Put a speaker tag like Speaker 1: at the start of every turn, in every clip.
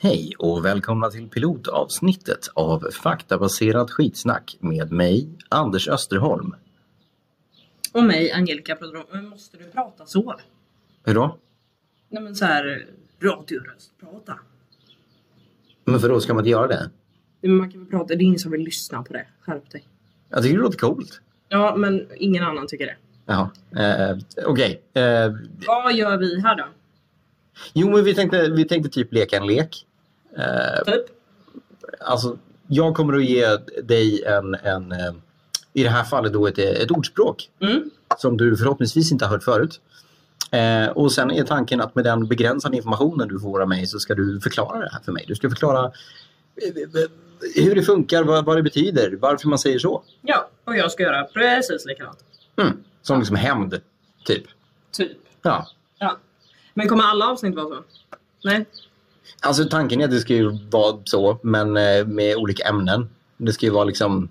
Speaker 1: Hej och välkomna till pilotavsnittet av Faktabaserat skitsnack med mig, Anders Österholm.
Speaker 2: Och mig, Angelica Brodrom. Men måste du prata så?
Speaker 1: Hur då?
Speaker 2: Nej men så här radioröst, prata.
Speaker 1: Men för då ska man inte göra det?
Speaker 2: Men man kan väl prata, det är ingen som vill lyssna på det. Skärp dig.
Speaker 1: Jag tycker det låter coolt.
Speaker 2: Ja, men ingen annan tycker det.
Speaker 1: Jaha, eh, okej. Eh,
Speaker 2: Vad gör vi här då?
Speaker 1: jo, men vi tänkte, vi tänkte typ leka en lek. Eh,
Speaker 2: Typ?
Speaker 1: alltså, jag kommer att ge dig en, en eh, i det här fallet då ett, ett ordspråk
Speaker 2: Mm.
Speaker 1: som du förhoppningsvis inte har hört förut. Eh, och sen är tanken att med den begränsade informationen du får av mig så ska du förklara det här för mig. Du ska förklara eh, eh, hur det funkar, vad, vad det betyder, varför man säger så.
Speaker 2: Ja, och jag ska göra precis likadant.
Speaker 1: Mm. Som liksom hämnd, typ.
Speaker 2: Typ.
Speaker 1: Ja.
Speaker 2: Ja. Men kommer alla avsnitt vara så? Nej?
Speaker 1: Alltså tanken är att det ska ju vara så, men eh, med olika ämnen. Det ska ju vara liksom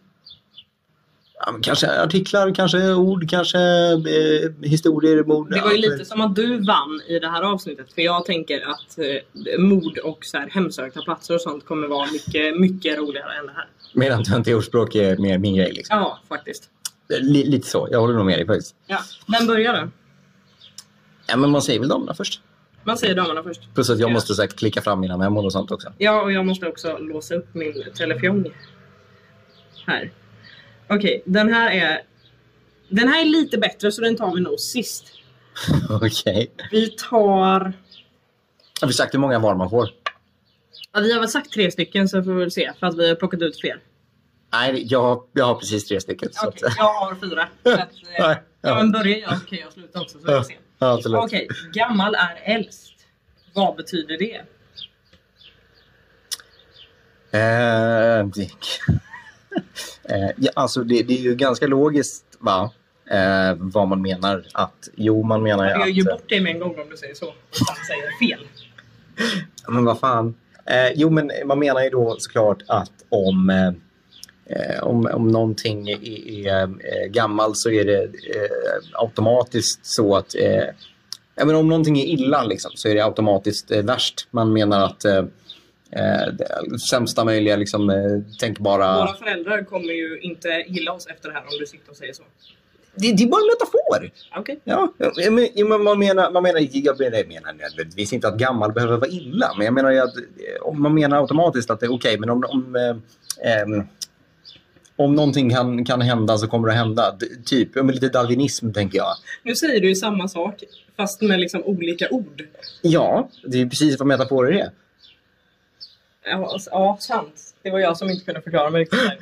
Speaker 1: ja, men Kanske artiklar, kanske ord, kanske eh, historier, mord.
Speaker 2: Det var ju lite som att du vann i det här avsnittet. För jag tänker att eh, mord och så här hemsökta platser och sånt kommer vara mycket, mycket roligare än det här.
Speaker 1: Medan 20 ordspråk är mer min grej. Liksom.
Speaker 2: Ja, faktiskt.
Speaker 1: Li- lite så, jag håller nog med dig faktiskt.
Speaker 2: Ja. Vem börjar då?
Speaker 1: Ja, men man säger väl damerna först.
Speaker 2: Man säger damerna först.
Speaker 1: Plus att jag måste säkert klicka fram mina memon och sånt också.
Speaker 2: Ja, och jag måste också låsa upp min telefon. Här. Okej, den här är... Den här är lite bättre så den tar vi nog sist.
Speaker 1: Okej.
Speaker 2: Vi tar...
Speaker 1: Har vi sagt hur många var man får?
Speaker 2: Ja, vi har väl sagt tre stycken så får vi väl se för att vi har plockat ut fler.
Speaker 1: Nej, jag, jag har precis tre stycken. så
Speaker 2: Okej,
Speaker 1: att-
Speaker 2: jag har fyra. Så att, eh,
Speaker 1: Nej,
Speaker 2: ja,
Speaker 1: ja.
Speaker 2: men börjar jag så kan jag sluta också. Så får vi se.
Speaker 1: Ja, absolut.
Speaker 2: Okej, gammal är äldst. Vad betyder det?
Speaker 1: Eh, det- eh, ja, alltså det, det är ju ganska logiskt va? Eh, vad man menar att... Jo, man menar ju
Speaker 2: Jag gör ju
Speaker 1: att...
Speaker 2: bort dig med en gång om du säger så. Jag säger fel.
Speaker 1: Men vad fan. Eh, jo, men man menar ju då såklart att om, eh, eh, om, om någonting är, är eh, gammalt så är det eh, automatiskt så att... Eh, ja, men om någonting är illa liksom, så är det automatiskt eh, värst. Man menar att eh, eh, det- sämsta möjliga liksom, eh, tänkbara...
Speaker 2: Våra föräldrar kommer ju inte gilla oss efter det här om du sitter och säger så.
Speaker 1: Det, det är bara en metafor!
Speaker 2: Okej.
Speaker 1: Ja, ja, men, ja, men man menar, man menar, jag menar, jag menar nödvändigtvis inte att gammal behöver vara illa, men jag menar ju att eh, om man menar automatiskt att det är okej, men om, om, eh, ehm, om någonting kan, kan hända så kommer det att hända. D- Typ, ja, men lite darwinism tänker jag.
Speaker 2: Nu säger du ju samma sak fast med liksom olika ord.
Speaker 1: Ja, det är precis vad metaforer är.
Speaker 2: Ja, alltså, ja sant. Det var jag som inte kunde förklara mig riktigt. här.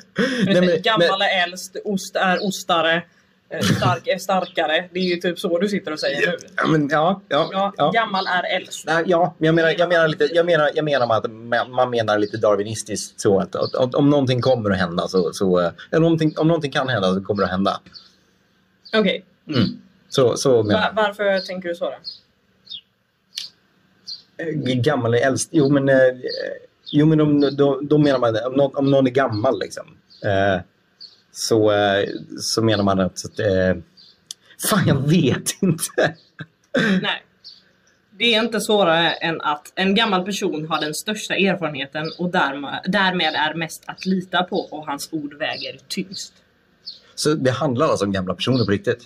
Speaker 2: Men
Speaker 1: Nej, men-
Speaker 2: Gammal är äldst, ost är ostare, eh, stark är starkare. Det är ju typ så du sitter och säger nu.
Speaker 1: Ja, men, ja, ja,
Speaker 2: Ja,
Speaker 1: ja.
Speaker 2: Gammal är äldst.
Speaker 1: Nej, ja, men jag menar, jag menar, lite, jag menar, jag menar med att ma- man menar lite darwinistiskt så att, att, att om någonting kommer att hända så, så eh, eller om någonting, om någonting kan hända så kommer det att hända.
Speaker 2: Okej,
Speaker 1: Mm. Så, så menar
Speaker 2: va- varför tänker du så då?
Speaker 1: jag. Eh, Gammal är äldst. Jo, men, eh, jo, men om, då, då menar man om någon, om någon är gammal liksom. Eh, så, eh, så menar man att... att eh, fan, jag vet inte.
Speaker 2: Nej. Det är inte svårare än att en gammal person har den största erfarenheten och därma- därmed är mest att lita på och hans ord väger tyngst.
Speaker 1: Så det handlar alltså om gamla personer på riktigt?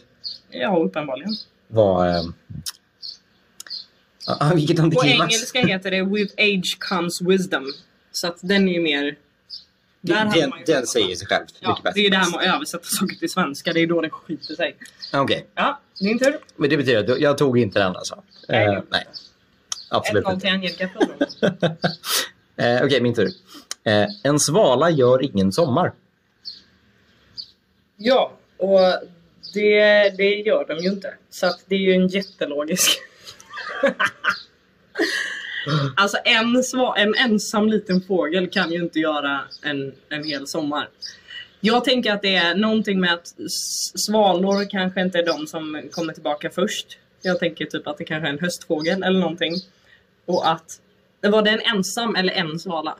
Speaker 2: Ja, uppenbarligen.
Speaker 1: Vad... Eh, ah, vilket
Speaker 2: På
Speaker 1: antiklimax.
Speaker 2: engelska heter det With age comes wisdom. Så att den är ju mer... Där
Speaker 1: Den,
Speaker 2: hade
Speaker 1: den,
Speaker 2: man ju
Speaker 1: den
Speaker 2: fattat.
Speaker 1: säger sig själv.
Speaker 2: Ja, det är ju det här med att översätta saker till svenska. Det är då det skiter sig.
Speaker 1: Okej,
Speaker 2: Ja, din tur.
Speaker 1: men det betyder att du- jag tog inte den alltså?
Speaker 2: Nej.
Speaker 1: Eh, nej. Absolut
Speaker 2: 1-0
Speaker 1: inte.
Speaker 2: till Angelica Flodholm.
Speaker 1: eh, Okej, min tur. Eh, en svala gör ingen sommar.
Speaker 2: Ja, och det, det gör de ju inte. Så att det är ju en jättelogisk... alltså en, sva, en ensam liten fågel kan ju inte göra en, en hel sommar. Jag tänker att det är någonting med att s- svalor kanske inte är de som kommer tillbaka först. Jag tänker typ att det kanske är en höstfågel eller någonting. Och att... Var det en ensam eller en svala?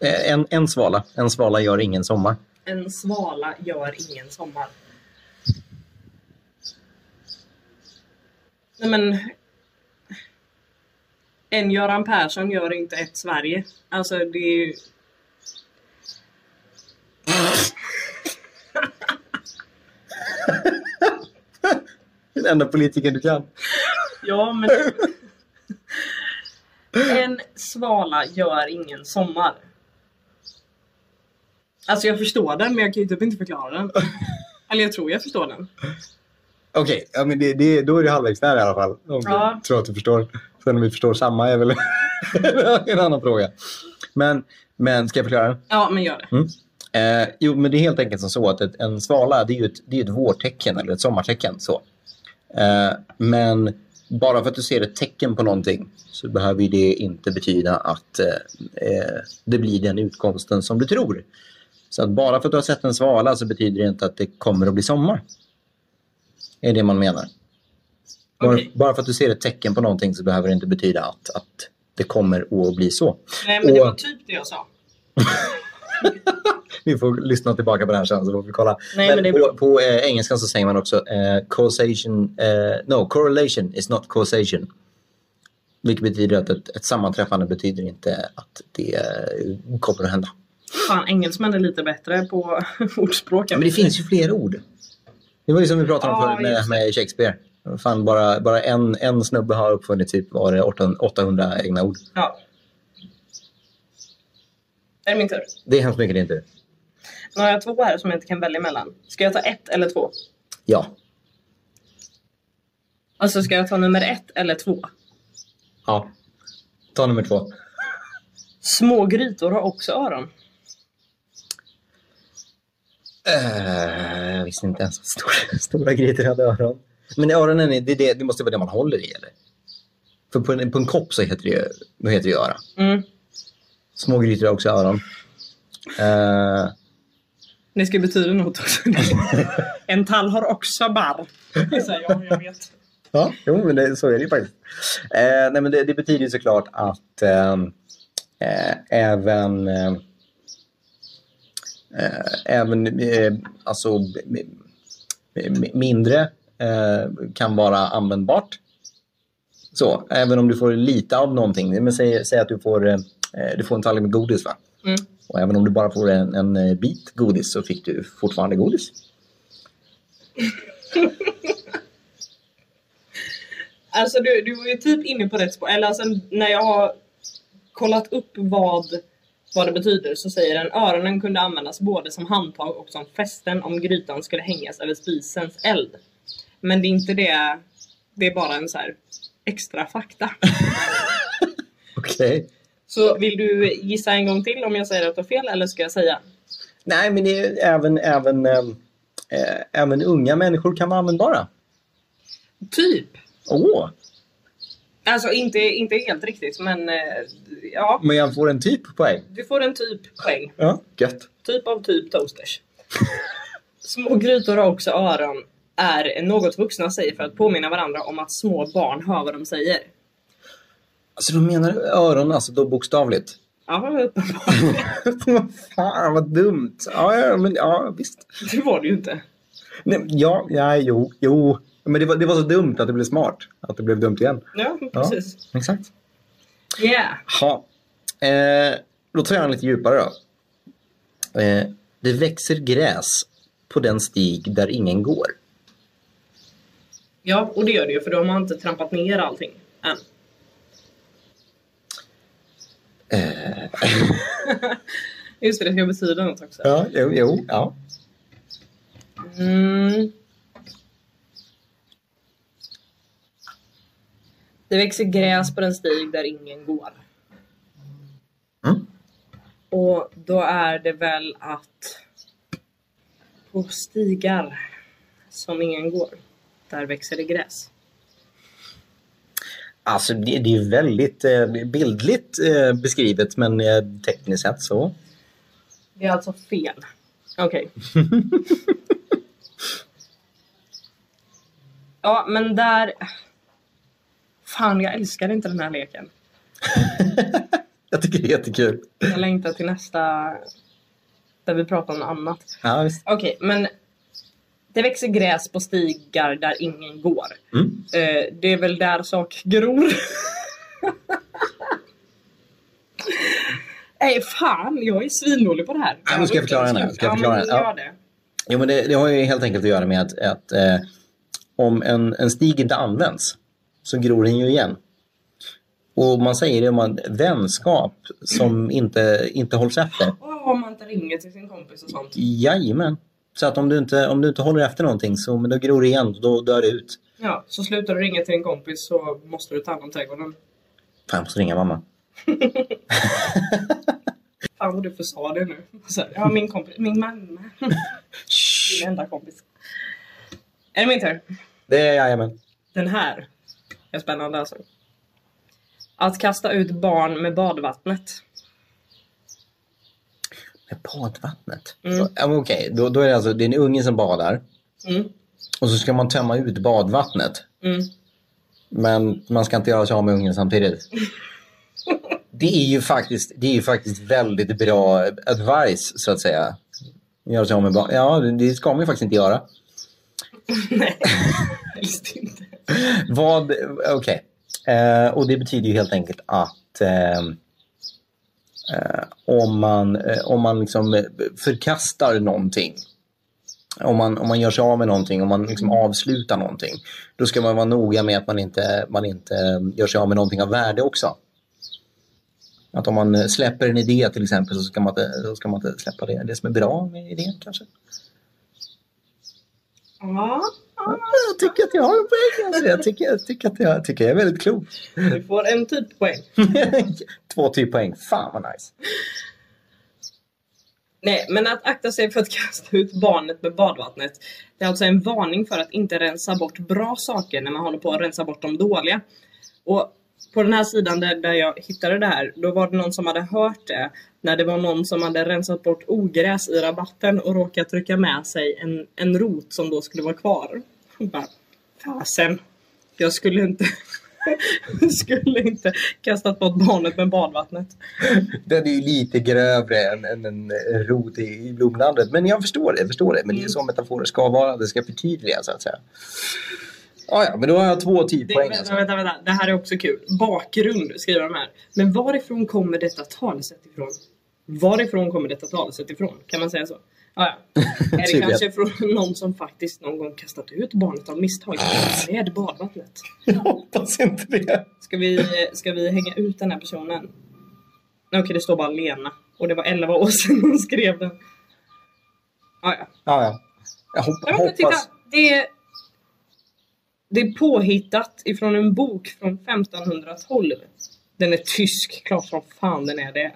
Speaker 1: Eh, en, en svala. En svala gör ingen sommar.
Speaker 2: En svala gör ingen sommar. Nej men... En Göran Persson gör inte ett Sverige. Alltså det är ju...
Speaker 1: Den enda politiken du kan.
Speaker 2: Ja, men... En svala gör ingen sommar. Alltså jag förstår den, men jag kan ju typ inte förklara den. Eller jag tror jag förstår den.
Speaker 1: Okej, ja, men det, det, då är det halvvägs där i alla fall. Om
Speaker 2: Ja.
Speaker 1: du tror att du förstår. Sen om vi förstår samma är väl en annan fråga. Men, men ska jag förklara? den?
Speaker 2: Ja, men gör det.
Speaker 1: Eh, jo, men det är helt enkelt som så att ett, en svala det är ju ett, det är ett vårtecken eller ett sommartecken. Så. Eh, men bara för att du ser ett tecken på någonting så behöver ju det inte betyda att eh, eh, det blir den utkomsten som du tror. Så att bara för att du har sett en svala så betyder det inte att det kommer att bli sommar. Det är det man menar. Bara,
Speaker 2: Okej.
Speaker 1: bara för att du ser ett tecken på någonting så behöver det inte betyda att, att det kommer att bli så.
Speaker 2: Nej, men det
Speaker 1: Och-
Speaker 2: var typ det jag sa.
Speaker 1: Vi får lyssna tillbaka på det här sen så får vi kolla.
Speaker 2: Nej, men det är
Speaker 1: på
Speaker 2: bra.
Speaker 1: på eh, engelskan så säger man också eh, causation, eh, no, correlation is not causation. Vilket betyder att ett, ett sammanträffande betyder inte att det eh, kommer att hända.
Speaker 2: Fan, engelsmän är lite bättre på ordspråk.
Speaker 1: Ja, men det finns ju fler ord. Det var ju som vi pratade om
Speaker 2: Ja,
Speaker 1: förut med,
Speaker 2: just
Speaker 1: med Shakespeare. Fan, bara bara en, en snubbe har uppfunnit typ var det 800 800 egna ord.
Speaker 2: Ja. Är det min tur?
Speaker 1: Det är hemskt mycket det inte.
Speaker 2: Nu har jag två här som jag inte kan välja mellan. Ska jag ta ett eller två?
Speaker 1: Ja.
Speaker 2: Alltså ska jag ta nummer ett eller två?
Speaker 1: ja. Ta nummer två.
Speaker 2: Små grytor har också öron.
Speaker 1: Eh, jag visste inte ens att stora, stora grytor hade öron. Men öronen, är, det, är det, det måste vara det man håller i eller? För på en, på en kopp så heter det ju då heter det ju öra.
Speaker 2: Mm.
Speaker 1: Små grytor har också öron. Eh,
Speaker 2: Det ska betyda något också. en tall har också barr. Det säger jag, jag vet.
Speaker 1: ja, jo, men det, så är det ju faktiskt. Eh, nej, men det, det betyder ju såklart att ehm, eh, även eh, eh, även eh, alltså, m- m- mindre eh, kan vara användbart. Så, även om du får lite av någonting. Men säg, säg att du får, eh, du får en tallrik med godis. Va?
Speaker 2: Mm.
Speaker 1: Och även om du bara får en, en eh, bit godis så fick du fortfarande godis.
Speaker 2: Alltså du, du var ju typ inne på rätt spår. Eller alltså när jag har kollat upp vad, vad det betyder så säger den öronen kunde användas både som handtag och som fästen om grytan skulle hängas över spisens eld. Men det är inte det. Det är bara en så här extra fakta.
Speaker 1: Okej.
Speaker 2: Så vill du gissa en gång till om jag säger att du har fel eller ska jag säga?
Speaker 1: Nej, men det är även, även, ehm, eh, även unga människor kan vara användbara.
Speaker 2: Typ.
Speaker 1: Åh,
Speaker 2: Alltså inte, inte helt riktigt men eh, ja.
Speaker 1: men jag får en typ poäng.
Speaker 2: Du får en typ poäng.
Speaker 1: Ja, gött.
Speaker 2: Typ av typ toasters. Små grytor har också öron är något vuxna säger för att påminna varandra om att små barn hör vad de säger.
Speaker 1: Alltså, de menar öron alltså då bokstavligt?
Speaker 2: Ja, uppenbarligen.
Speaker 1: Fan, vad dumt. Ja, ja, men, ja visst.
Speaker 2: Det var det ju inte.
Speaker 1: Nej, men ja, ja, jo, jo. Men det var, det var så dumt att det blev smart. Att det blev dumt igen.
Speaker 2: Ja, precis.
Speaker 1: Exakt.
Speaker 2: Yeah.
Speaker 1: Ha. Eh, då tar jag en lite djupare då. Eh, det växer gräs på den stig där ingen går.
Speaker 2: Ja, och det gör det ju för då har man inte trampat ner allting än. Just det, det ska betyda något också.
Speaker 1: Ja, jo, jo. Ja.
Speaker 2: Mm. Det växer gräs på den stig där ingen går.
Speaker 1: Mm.
Speaker 2: Och då är det väl att på stigar som ingen går, där växer det gräs.
Speaker 1: Alltså det, det är väldigt eh, bildligt eh, beskrivet men eh, tekniskt sett så.
Speaker 2: Det är alltså fel. Okej. ja, men där... Fan, jag älskar inte den här leken.
Speaker 1: Jag tycker det är jättekul.
Speaker 2: Jag längtar till nästa där vi pratar om annat.
Speaker 1: Ja, visst.
Speaker 2: Okej, men det växer gräs på stigar där ingen går.
Speaker 1: Mm.
Speaker 2: Eh, det är väl där saker gror. Nej fan, jag är svindålig på det här.
Speaker 1: Ja, men ska jag förklara den här? Ska jag förklara
Speaker 2: ja, men
Speaker 1: den? Ja.
Speaker 2: gör det.
Speaker 1: Jo, men det, det har ju helt enkelt att göra med att, att eh, om en, en stig inte används så gror den ju igen. Och man säger det om man vänskap som inte, inte hålls efter.
Speaker 2: Och om man inte ringer till sin kompis och sånt.
Speaker 1: Jajamän. Så att om du inte, om du inte håller efter någonting så men då gror det igen och då dör det ut.
Speaker 2: Ja, så slutar du ringa till en kompis så måste du ta hand om trädgården.
Speaker 1: Fan, jag måste ringa mamma.
Speaker 2: Fan vad du försade det nu. Så, här, ja, min kompis, min mamma. Min enda kompis. Är det min tur?
Speaker 1: Det är jajamän.
Speaker 2: Den här är spännande alltså. Att kasta ut barn med badvattnet.
Speaker 1: Med badvattnet?
Speaker 2: Mm.
Speaker 1: Ja, men Okej, då, då är det alltså det är en unge som badar
Speaker 2: Mm,
Speaker 1: och så ska man tömma ut badvattnet.
Speaker 2: mm.
Speaker 1: Men man ska inte göra sig av med ungen samtidigt. Det är ju faktiskt, det är ju faktiskt väldigt bra advice, så att säga. Göra sig av med barn. Ja, det- det ska man ju faktiskt inte göra.
Speaker 2: Nej, helst inte.
Speaker 1: Vad, okej. Eh, och det betyder ju helt enkelt att eh, eh, om man, eh, om man liksom eh, förkastar någonting, om man, om man gör sig av med någonting, om man liksom avslutar någonting, då ska man vara noga med att man inte, man inte eh, gör sig av med någonting av värde också. Att om man eh, släpper en idé till exempel så ska man inte, så ska man inte släppa det, det som är bra med idén kanske.
Speaker 2: Ja,
Speaker 1: Ja, Jag tycker att jag har en poäng. Alltså. Jag, tycker, jag, tycker att jag, jag tycker jag är väldigt klok.
Speaker 2: du får en typ poäng.
Speaker 1: Två typ poäng. Fan vad nice.
Speaker 2: Nej, men att akta sig för att kasta ut barnet med badvattnet. Det är alltså en varning för att inte rensa bort bra saker när man håller på att rensa bort de dåliga. Och på den här sidan där, där jag hittade det här, då var det någon som hade hört det. När det var någon som hade rensat bort ogräs i rabatten och råkat trycka med sig en, en rot som då skulle vara kvar. Och Bara, Fasen, jag skulle inte, skulle inte kastat bort barnet med badvattnet.
Speaker 1: Den är ju lite grövre än, än en rot i, i blomlandet. Men jag förstår det. Jag förstår det. Men
Speaker 2: Mm.
Speaker 1: det är ju så metaforer ska vara. Det ska förtydligas så att säga. Ah, ja, men då har jag två typ
Speaker 2: Det,
Speaker 1: poäng.
Speaker 2: vänta,
Speaker 1: Alltså.
Speaker 2: vänta, vänta. Det här är också kul. Bakgrund skriver de här. Men varifrån kommer detta talsätt ifrån? Varifrån kommer detta talsätt ifrån? Kan man säga så? Ah, ja. Är det
Speaker 1: Tydligen.
Speaker 2: kanske från någon som faktiskt någon gång kastat ut barnet av misstag med badvattnet?
Speaker 1: Jag hoppas inte det.
Speaker 2: Ska vi, ska vi hänga ut den här personen? Nej, Okej, det står bara Lena. Och det var 11 år sedan hon skrev den. Ah, ja.
Speaker 1: Ah, ja. Jag hop-
Speaker 2: Ja, men titta,
Speaker 1: hoppas.
Speaker 2: det, är, det är påhittat ifrån en bok från 1512. Den är tysk, klart som fan den är det.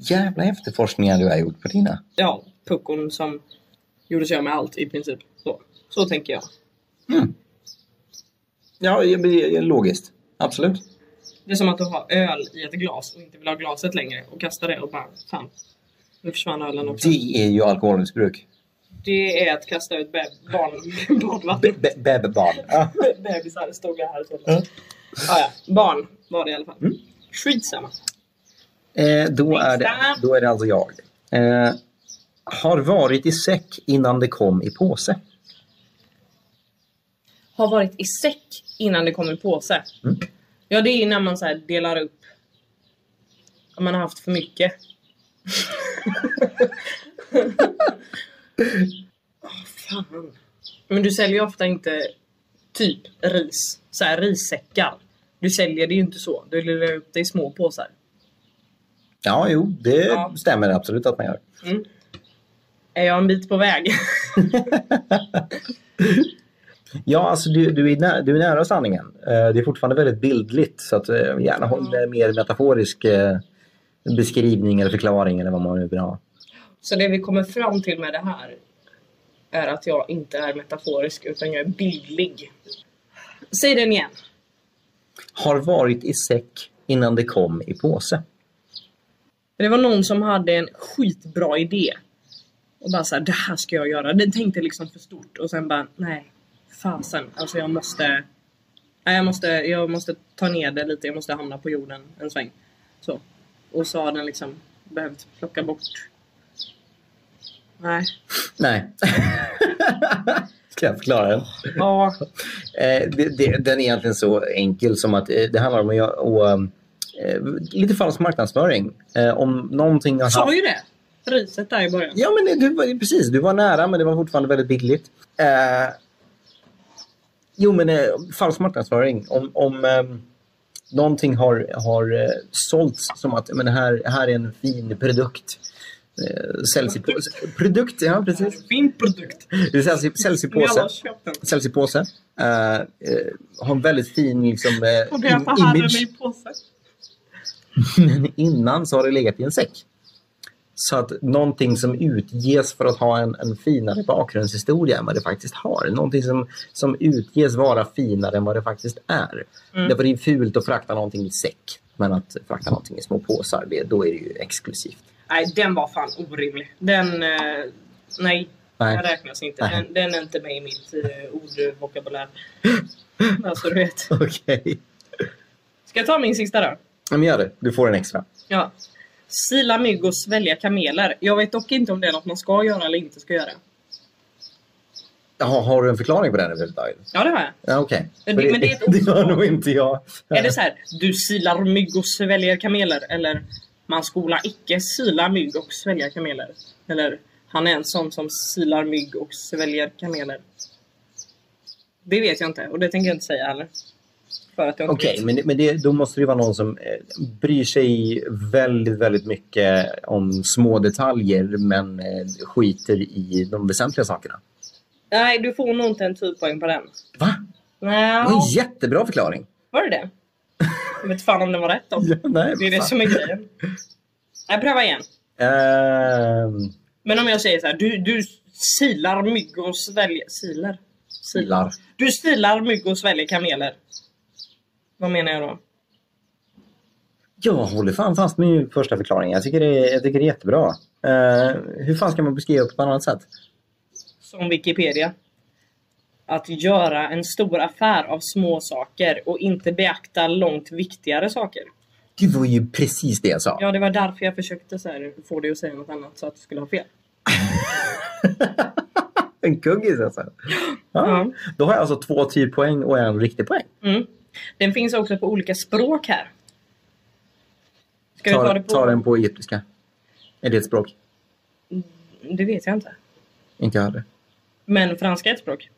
Speaker 1: Jävla efterforskningar du har gjort på dina.
Speaker 2: Ja, puckon som gjorde sig av med allt i princip. Så, så tänker jag.
Speaker 1: Ja, det blir logiskt. Absolut.
Speaker 2: Det är som att du har öl i ett glas och inte vill ha glaset längre och kastar det och bara fan. Nu försvann ölen också. Det,
Speaker 1: Det är ju alkoholmissbruk.
Speaker 2: är att kasta ut beb- barn med
Speaker 1: Be-
Speaker 2: badvatten.
Speaker 1: be- Bebbarn. Ah.
Speaker 2: Bebisar stod jag här och
Speaker 1: Ja.
Speaker 2: ja. Ah, ja. Barn var det i alla fall. Skitsamma.
Speaker 1: Eh, då, är det,
Speaker 2: Nästa.
Speaker 1: då är det alltså jag. Eh, har varit i säck innan det kom i påse.
Speaker 2: har varit i säck innan det kom i påse.
Speaker 1: Mm.
Speaker 2: Ja, det är när man så här delar upp. Om man har haft för mycket. Åh, fan. Men du säljer ju ofta inte typ ris, så här rissäckar. Du säljer det ju inte så. Du delar upp det i små påsar.
Speaker 1: Ja, jo, det
Speaker 2: Ja.
Speaker 1: stämmer absolut att man gör.
Speaker 2: Är jag en bit på väg?
Speaker 1: Ja, alltså du, du, är, nä, du är nära sanningen. Eh, det är fortfarande väldigt bildligt så att eh, gärna håll med mer metaforisk eh, beskrivning eller förklaring eller vad man nu vill ha.
Speaker 2: Så det vi kommer fram till med det här är att jag inte är metaforisk utan jag är bildlig. Säg den igen.
Speaker 1: Har varit i säck innan det kom i påse.
Speaker 2: Det var någon som hade en skitbra idé. Och bara såhär, det här ska jag göra. Den tänkte liksom för stort och sen bara, nej. Fasen, alltså jag måste... Nej, jag måste, jag måste ta ner det lite. Jag måste hamna på jorden en sväng. Så. Och så har den liksom behövt plocka bort. Nej.
Speaker 1: Nej. Ska jag förklara den?
Speaker 2: Ja,
Speaker 1: Eh, det, det, den är egentligen så enkel som att eh, det handlar om att göra- och, eh, lite falsk marknadsföring. Eh, om någonting har
Speaker 2: sa ju det. Riset där i början.
Speaker 1: Ja, men du, var- precis. Du var nära, men det var fortfarande väldigt billigt. Eh, jo, men eh, falsk marknadsföring. Om, om eh, någonting har, har eh, sålts som att men det här, här är en fin produkt. Eh, säljs i påse. Produkt, ja precis.
Speaker 2: Fin produkt.
Speaker 1: Det säljs i, säljs i
Speaker 2: Ni alla har
Speaker 1: påse.
Speaker 2: köpt den.
Speaker 1: Säljs i påse. Eh, eh, har en väldigt fin liksom, eh,
Speaker 2: Och det är
Speaker 1: im-
Speaker 2: att han hade den i
Speaker 1: image.
Speaker 2: påse.
Speaker 1: Men innan så har det legat i en säck. Så att någonting som utges för att ha en, en finare bakgrundshistoria än vad det faktiskt har. Någonting som, som utges vara finare än vad det faktiskt är.
Speaker 2: Mm.
Speaker 1: Därför det är fult att frakta någonting i säck. Men att frakta någonting i små påsar, det, då är det ju exklusivt.
Speaker 2: Nej, den var fan orimlig. Den... Eh, nej,
Speaker 1: Nej.
Speaker 2: den räknas inte.
Speaker 1: Nej.
Speaker 2: Den, den är inte med i mitt eh, ordvokabulär. alltså, du vet.
Speaker 1: Okej.
Speaker 2: Ska jag ta min sista då?
Speaker 1: Ja, Men gör det. Du får en extra.
Speaker 2: Ja. Sila mygg och svälja kameler. Jag vet dock inte om det är något man ska göra eller inte ska göra.
Speaker 1: Jaha, har du en förklaring på den överhuvudtaget?
Speaker 2: Ja, det har jag.
Speaker 1: Ja, okej.
Speaker 2: Men
Speaker 1: För
Speaker 2: det- men det är ett
Speaker 1: det har nog inte jag.
Speaker 2: Är det så här, du silar mygg och sväljer kameler? Eller, man skola icke sila mygg och svälja kameler? Eller, han är en sån som silar mygg och sväljer kameler? Det vet jag inte och det tänker jag inte säga heller. För att jag inte
Speaker 1: Okej,
Speaker 2: vet.
Speaker 1: men, det- men det, då måste det vara någon som eh, bryr sig väldigt, väldigt mycket om små detaljer men eh, skiter i de väsentliga sakerna.
Speaker 2: Nej, du får nog inte en typpoäng på den.
Speaker 1: Va? Det
Speaker 2: Nej,
Speaker 1: var en jättebra förklaring.
Speaker 2: var det det? Jag vet fan om den var rätt då.
Speaker 1: Ja, nej,
Speaker 2: Det är det
Speaker 1: fan.
Speaker 2: som är grejen. Jag prövar igen.
Speaker 1: Ehm,
Speaker 2: Men om jag säger så här, du, du silar mygg och sväljer... Silar? Silar.
Speaker 1: Silar.
Speaker 2: Du stilar mygg och sväljer kameler. Vad menar jag då?
Speaker 1: Jag håller fan fast med min första förklaring. Jag tycker det är, jag tycker det är jättebra. Eh, hur fan ska man beskriva det på ett annat sätt?
Speaker 2: Som Wikipedia. Att göra en stor affär av små saker och inte beakta långt viktigare saker.
Speaker 1: Det var ju precis det jag sa.
Speaker 2: Ja, det var därför jag försökte så här, få dig att säga något annat så att du skulle ha fel.
Speaker 1: En kuggis alltså. Ja.
Speaker 2: Ja.
Speaker 1: Då har jag alltså två typpoäng och en riktig poäng.
Speaker 2: Mm. Den finns också på olika språk här. Ska vi
Speaker 1: Ta,
Speaker 2: ta det på...
Speaker 1: ta den på egyptiska. Är det ett språk?
Speaker 2: Det vet jag inte.
Speaker 1: Inte jag heller.
Speaker 2: Men franska är ett språk.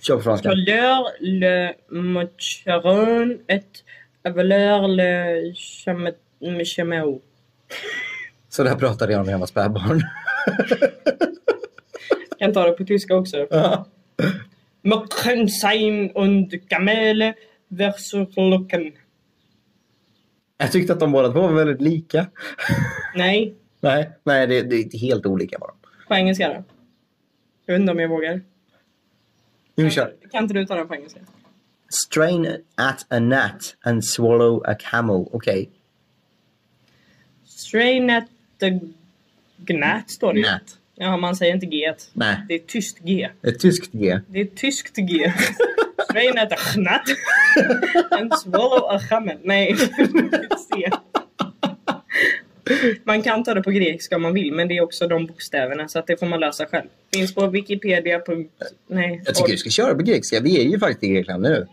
Speaker 1: Kör på franska.
Speaker 2: Valeur le macharon et valeur le chame- chameo.
Speaker 1: Så där pratade jag när jag var spädbarn.
Speaker 2: Kan ta det på tyska också. Möckensein und Kamele versus Locken.
Speaker 1: jag tyckte att de båda två var väldigt lika.
Speaker 2: Nej,
Speaker 1: Nej, nej det, det är helt olika bara.
Speaker 2: på engelska då. Jag vet inte om jag vågar.
Speaker 1: Nu kör
Speaker 2: Kan inte du ta den på engelska?
Speaker 1: Strain at a gnat and swallow a camel. Okej,
Speaker 2: Strain at the gnat står det ju.
Speaker 1: gnat.
Speaker 2: Ja, man säger inte G.
Speaker 1: Nej,
Speaker 2: Det är tyst G.
Speaker 1: ett tyskt G.
Speaker 2: Det är tyskt G. Strain at the gnat. And swallow a chamel. Nej, C. Man kan ta det på grekiska om man vill, men det är också de bokstäverna så att det får man lösa själv. Finns på Wikipedia. Nej.
Speaker 1: Jag tycker vi ska köra på grekiska. Vi är ju faktiskt i Grekland nu.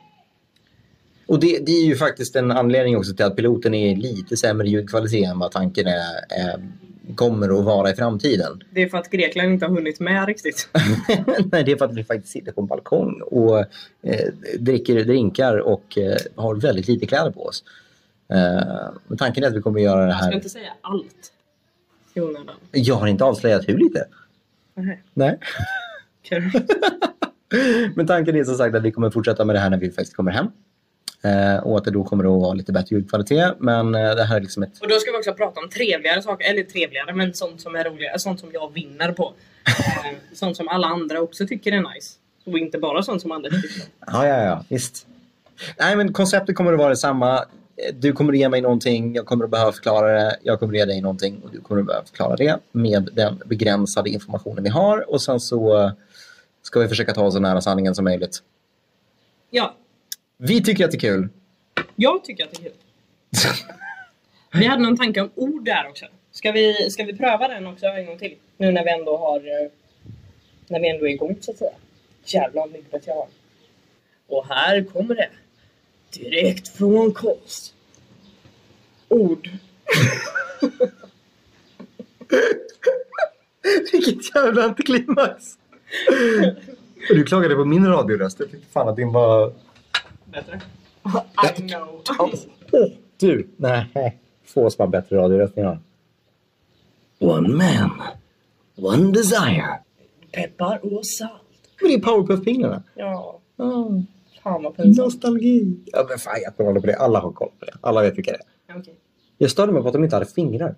Speaker 1: Och det, det är ju faktiskt en anledning också till att piloten är lite sämre ljudkvalitet än vad tanken är, eh, kommer att vara i framtiden.
Speaker 2: Det är för att Grekland inte har hunnit med riktigt.
Speaker 1: Nej, det är för att vi faktiskt sitter på en balkong och eh, dricker drinkar och eh, har väldigt lite kläder på oss. Eh, men tanken är att vi kommer göra det
Speaker 2: Jag ska
Speaker 1: här.
Speaker 2: inte säga allt. I onödan.
Speaker 1: Jag har inte avslöjat hur lite.
Speaker 2: Nej,
Speaker 1: Nej.
Speaker 2: kul.
Speaker 1: Men tanken är som sagt att vi kommer fortsätta med det här när vi faktiskt kommer hem. Eh, och att det då kommer att vara lite bättre ljudkvalitet. Men eh, det här är liksom ett...
Speaker 2: Och då ska vi också prata om trevligare saker, eller trevligare men sånt som är roligare, sånt som jag vinner på. Eh, sånt som alla andra också tycker är nice. Och inte bara sånt som andra tycker.
Speaker 1: Ja, ja, ja. Visst. Nej, men konceptet kommer att vara detsamma. Eh, Du kommer att ge mig någonting, jag kommer att behöva förklara det. Jag kommer att ge dig någonting och du kommer att behöva förklara det med den begränsade informationen vi har. Och sen så eh, ska vi försöka ta oss så nära sanningen som möjligt.
Speaker 2: Ja,
Speaker 1: Vi tycker att det är kul.
Speaker 2: jag tycker att det är kul. Vi hade någon tanke om ord där också. Ska vi, ska vi pröva den också en gång till? Nu när vi ändå har... eh, När vi ändå är igång så att säga. Jävlar vad myggbett jag har. Och här kommer det. Direkt från konst. Ord.
Speaker 1: Vilket jävla antiklimax! Och du klagade på min radioröst. Jag tyckte fan att din var...
Speaker 2: Bättre? I know.
Speaker 1: Du! Nej, få som har bättre radioröst än jag. One man, one desire.
Speaker 2: Peppar och salt.
Speaker 1: Men det är Powerpuff-pinglarna.
Speaker 2: Ja,
Speaker 1: Oh,
Speaker 2: fan vad pinsamt.
Speaker 1: nostalgi. Ja, men fan jag håller på det. Alla har koll på det. Alla vet vilka det är.
Speaker 2: Okej.
Speaker 1: Jag störde mig på att de inte hade fingrar.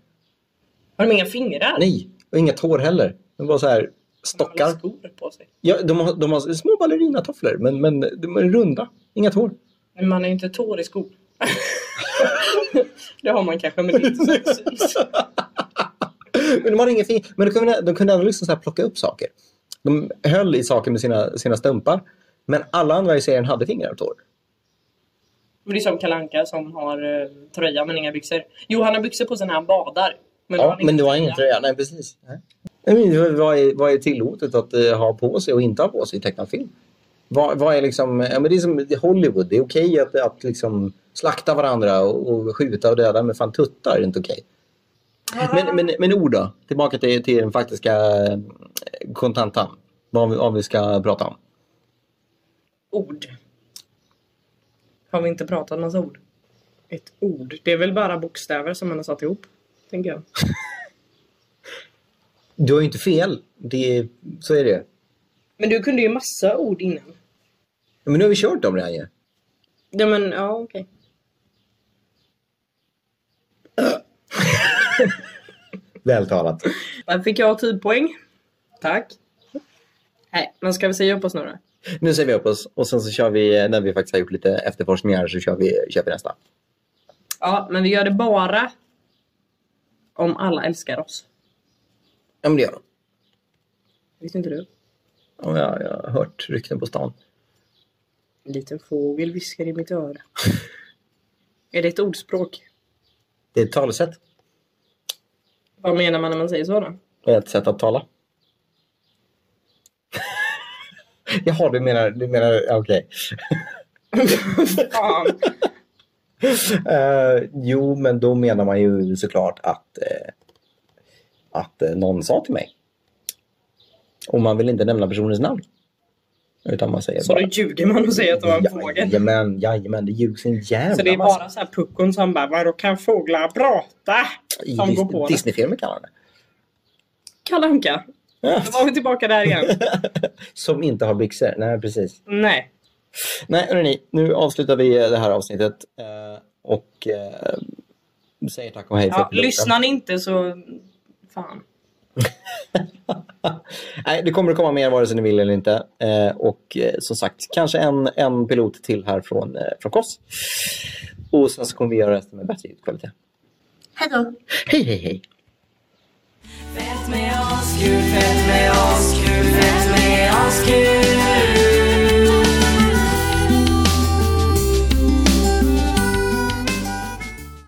Speaker 2: Har de inga fingrar?
Speaker 1: Nej, och inga tår heller. De var så här
Speaker 2: De har
Speaker 1: stockar.
Speaker 2: alla skor på sig.
Speaker 1: Ja, de, har, de har små ballerinatofflor, men, men de är runda. Inga tår.
Speaker 2: Men man har ju inte tår i skor. det har man kanske, men det är inte så att det syns.
Speaker 1: Men de hade ingen fin... Men de kunde, de kunde ändå liksom så här plocka upp saker. De höll i saker med sina, sina stumpar. Men alla andra i serien hade fingrar och tår.
Speaker 2: Men Det är som Kalanka som har eh, tröja men inga byxor. Jo, han har byxor på sig när han badar. Men då har
Speaker 1: Ja,
Speaker 2: han inte
Speaker 1: men det var ingen tröja. Nej, precis. Nej. Jag menar, vad, är, vad är tillåtet att eh, ha på sig och inte ha på sig i tecknad film? Vad, vad är liksom, ja, men det är som Hollywood. Det är okej att, att liksom slakta varandra och, och skjuta och döda, men fan tuttar är inte okej. Men, men, men ord då? Tillbaka till, till den faktiska eh, kontantan. Vad vi, vad vi ska prata om.
Speaker 2: Ord. Har vi inte pratat massa ord? Ett ord. Det är väl bara bokstäver som man har satt ihop, tänker jag.
Speaker 1: Du har ju inte fel. Det, så är det.
Speaker 2: Men du kunde ju massa ord innan.
Speaker 1: Men nu har vi kört dem redan ju.
Speaker 2: Ja, men ja, okej.
Speaker 1: Vältalat.
Speaker 2: Där fick jag typ poäng. Tack. Nej, men ska vi säga upp oss nu då?
Speaker 1: Nu säger vi upp oss och sen så kör vi, när vi faktiskt har gjort lite efterforskningar, så kör vi, kör vi nästa.
Speaker 2: Ja, men vi gör det bara om alla älskar oss.
Speaker 1: Ja, men det gör de.
Speaker 2: Visste inte du?
Speaker 1: Ja, jag, jag har hört rykten på stan.
Speaker 2: En liten fågel viskar i mitt öra. är det ett ordspråk?
Speaker 1: Det är ett talesätt.
Speaker 2: Vad menar man när man säger så då?
Speaker 1: Det är ett sätt att tala. Jaha, du menar... Du menar ja, okej.
Speaker 2: Fan.
Speaker 1: Eh, jo, men då menar man ju såklart att, eh, att eh, någon sa till mig. Och man vill inte nämna personens namn. Utan man säger
Speaker 2: Så då ljuger man och säger att det var en fågel.
Speaker 1: Jajamän, jajamän, det ljugs en jävla
Speaker 2: Så det är
Speaker 1: massa.
Speaker 2: bara så här puckon som bara “Vadå kan fåglar prata?”
Speaker 1: I
Speaker 2: som går
Speaker 1: Dis-
Speaker 2: på det.
Speaker 1: Disneyfilmer kallar man det.
Speaker 2: Kalle Anka.
Speaker 1: Ja.
Speaker 2: Då var vi tillbaka där igen.
Speaker 1: Som inte har byxor. Nej, precis.
Speaker 2: Nej.
Speaker 1: Nej, hörrni, nu avslutar vi det här avsnittet eh, och eh, säger tack och hej
Speaker 2: Ja,
Speaker 1: piloten.
Speaker 2: lyssnar ni inte så... Fan.
Speaker 1: Nej, det kommer att komma mer vare sig ni vill eller inte. Eh, och eh, som sagt, kanske en, en pilot till här från, eh, från Koss. Och sen så kommer vi göra resten med bättre ljudkvalitet. Hej då! Hej, hej, hej!
Speaker 3: Fett med oss, kul, fett med oss, kul, fett med oss, kul.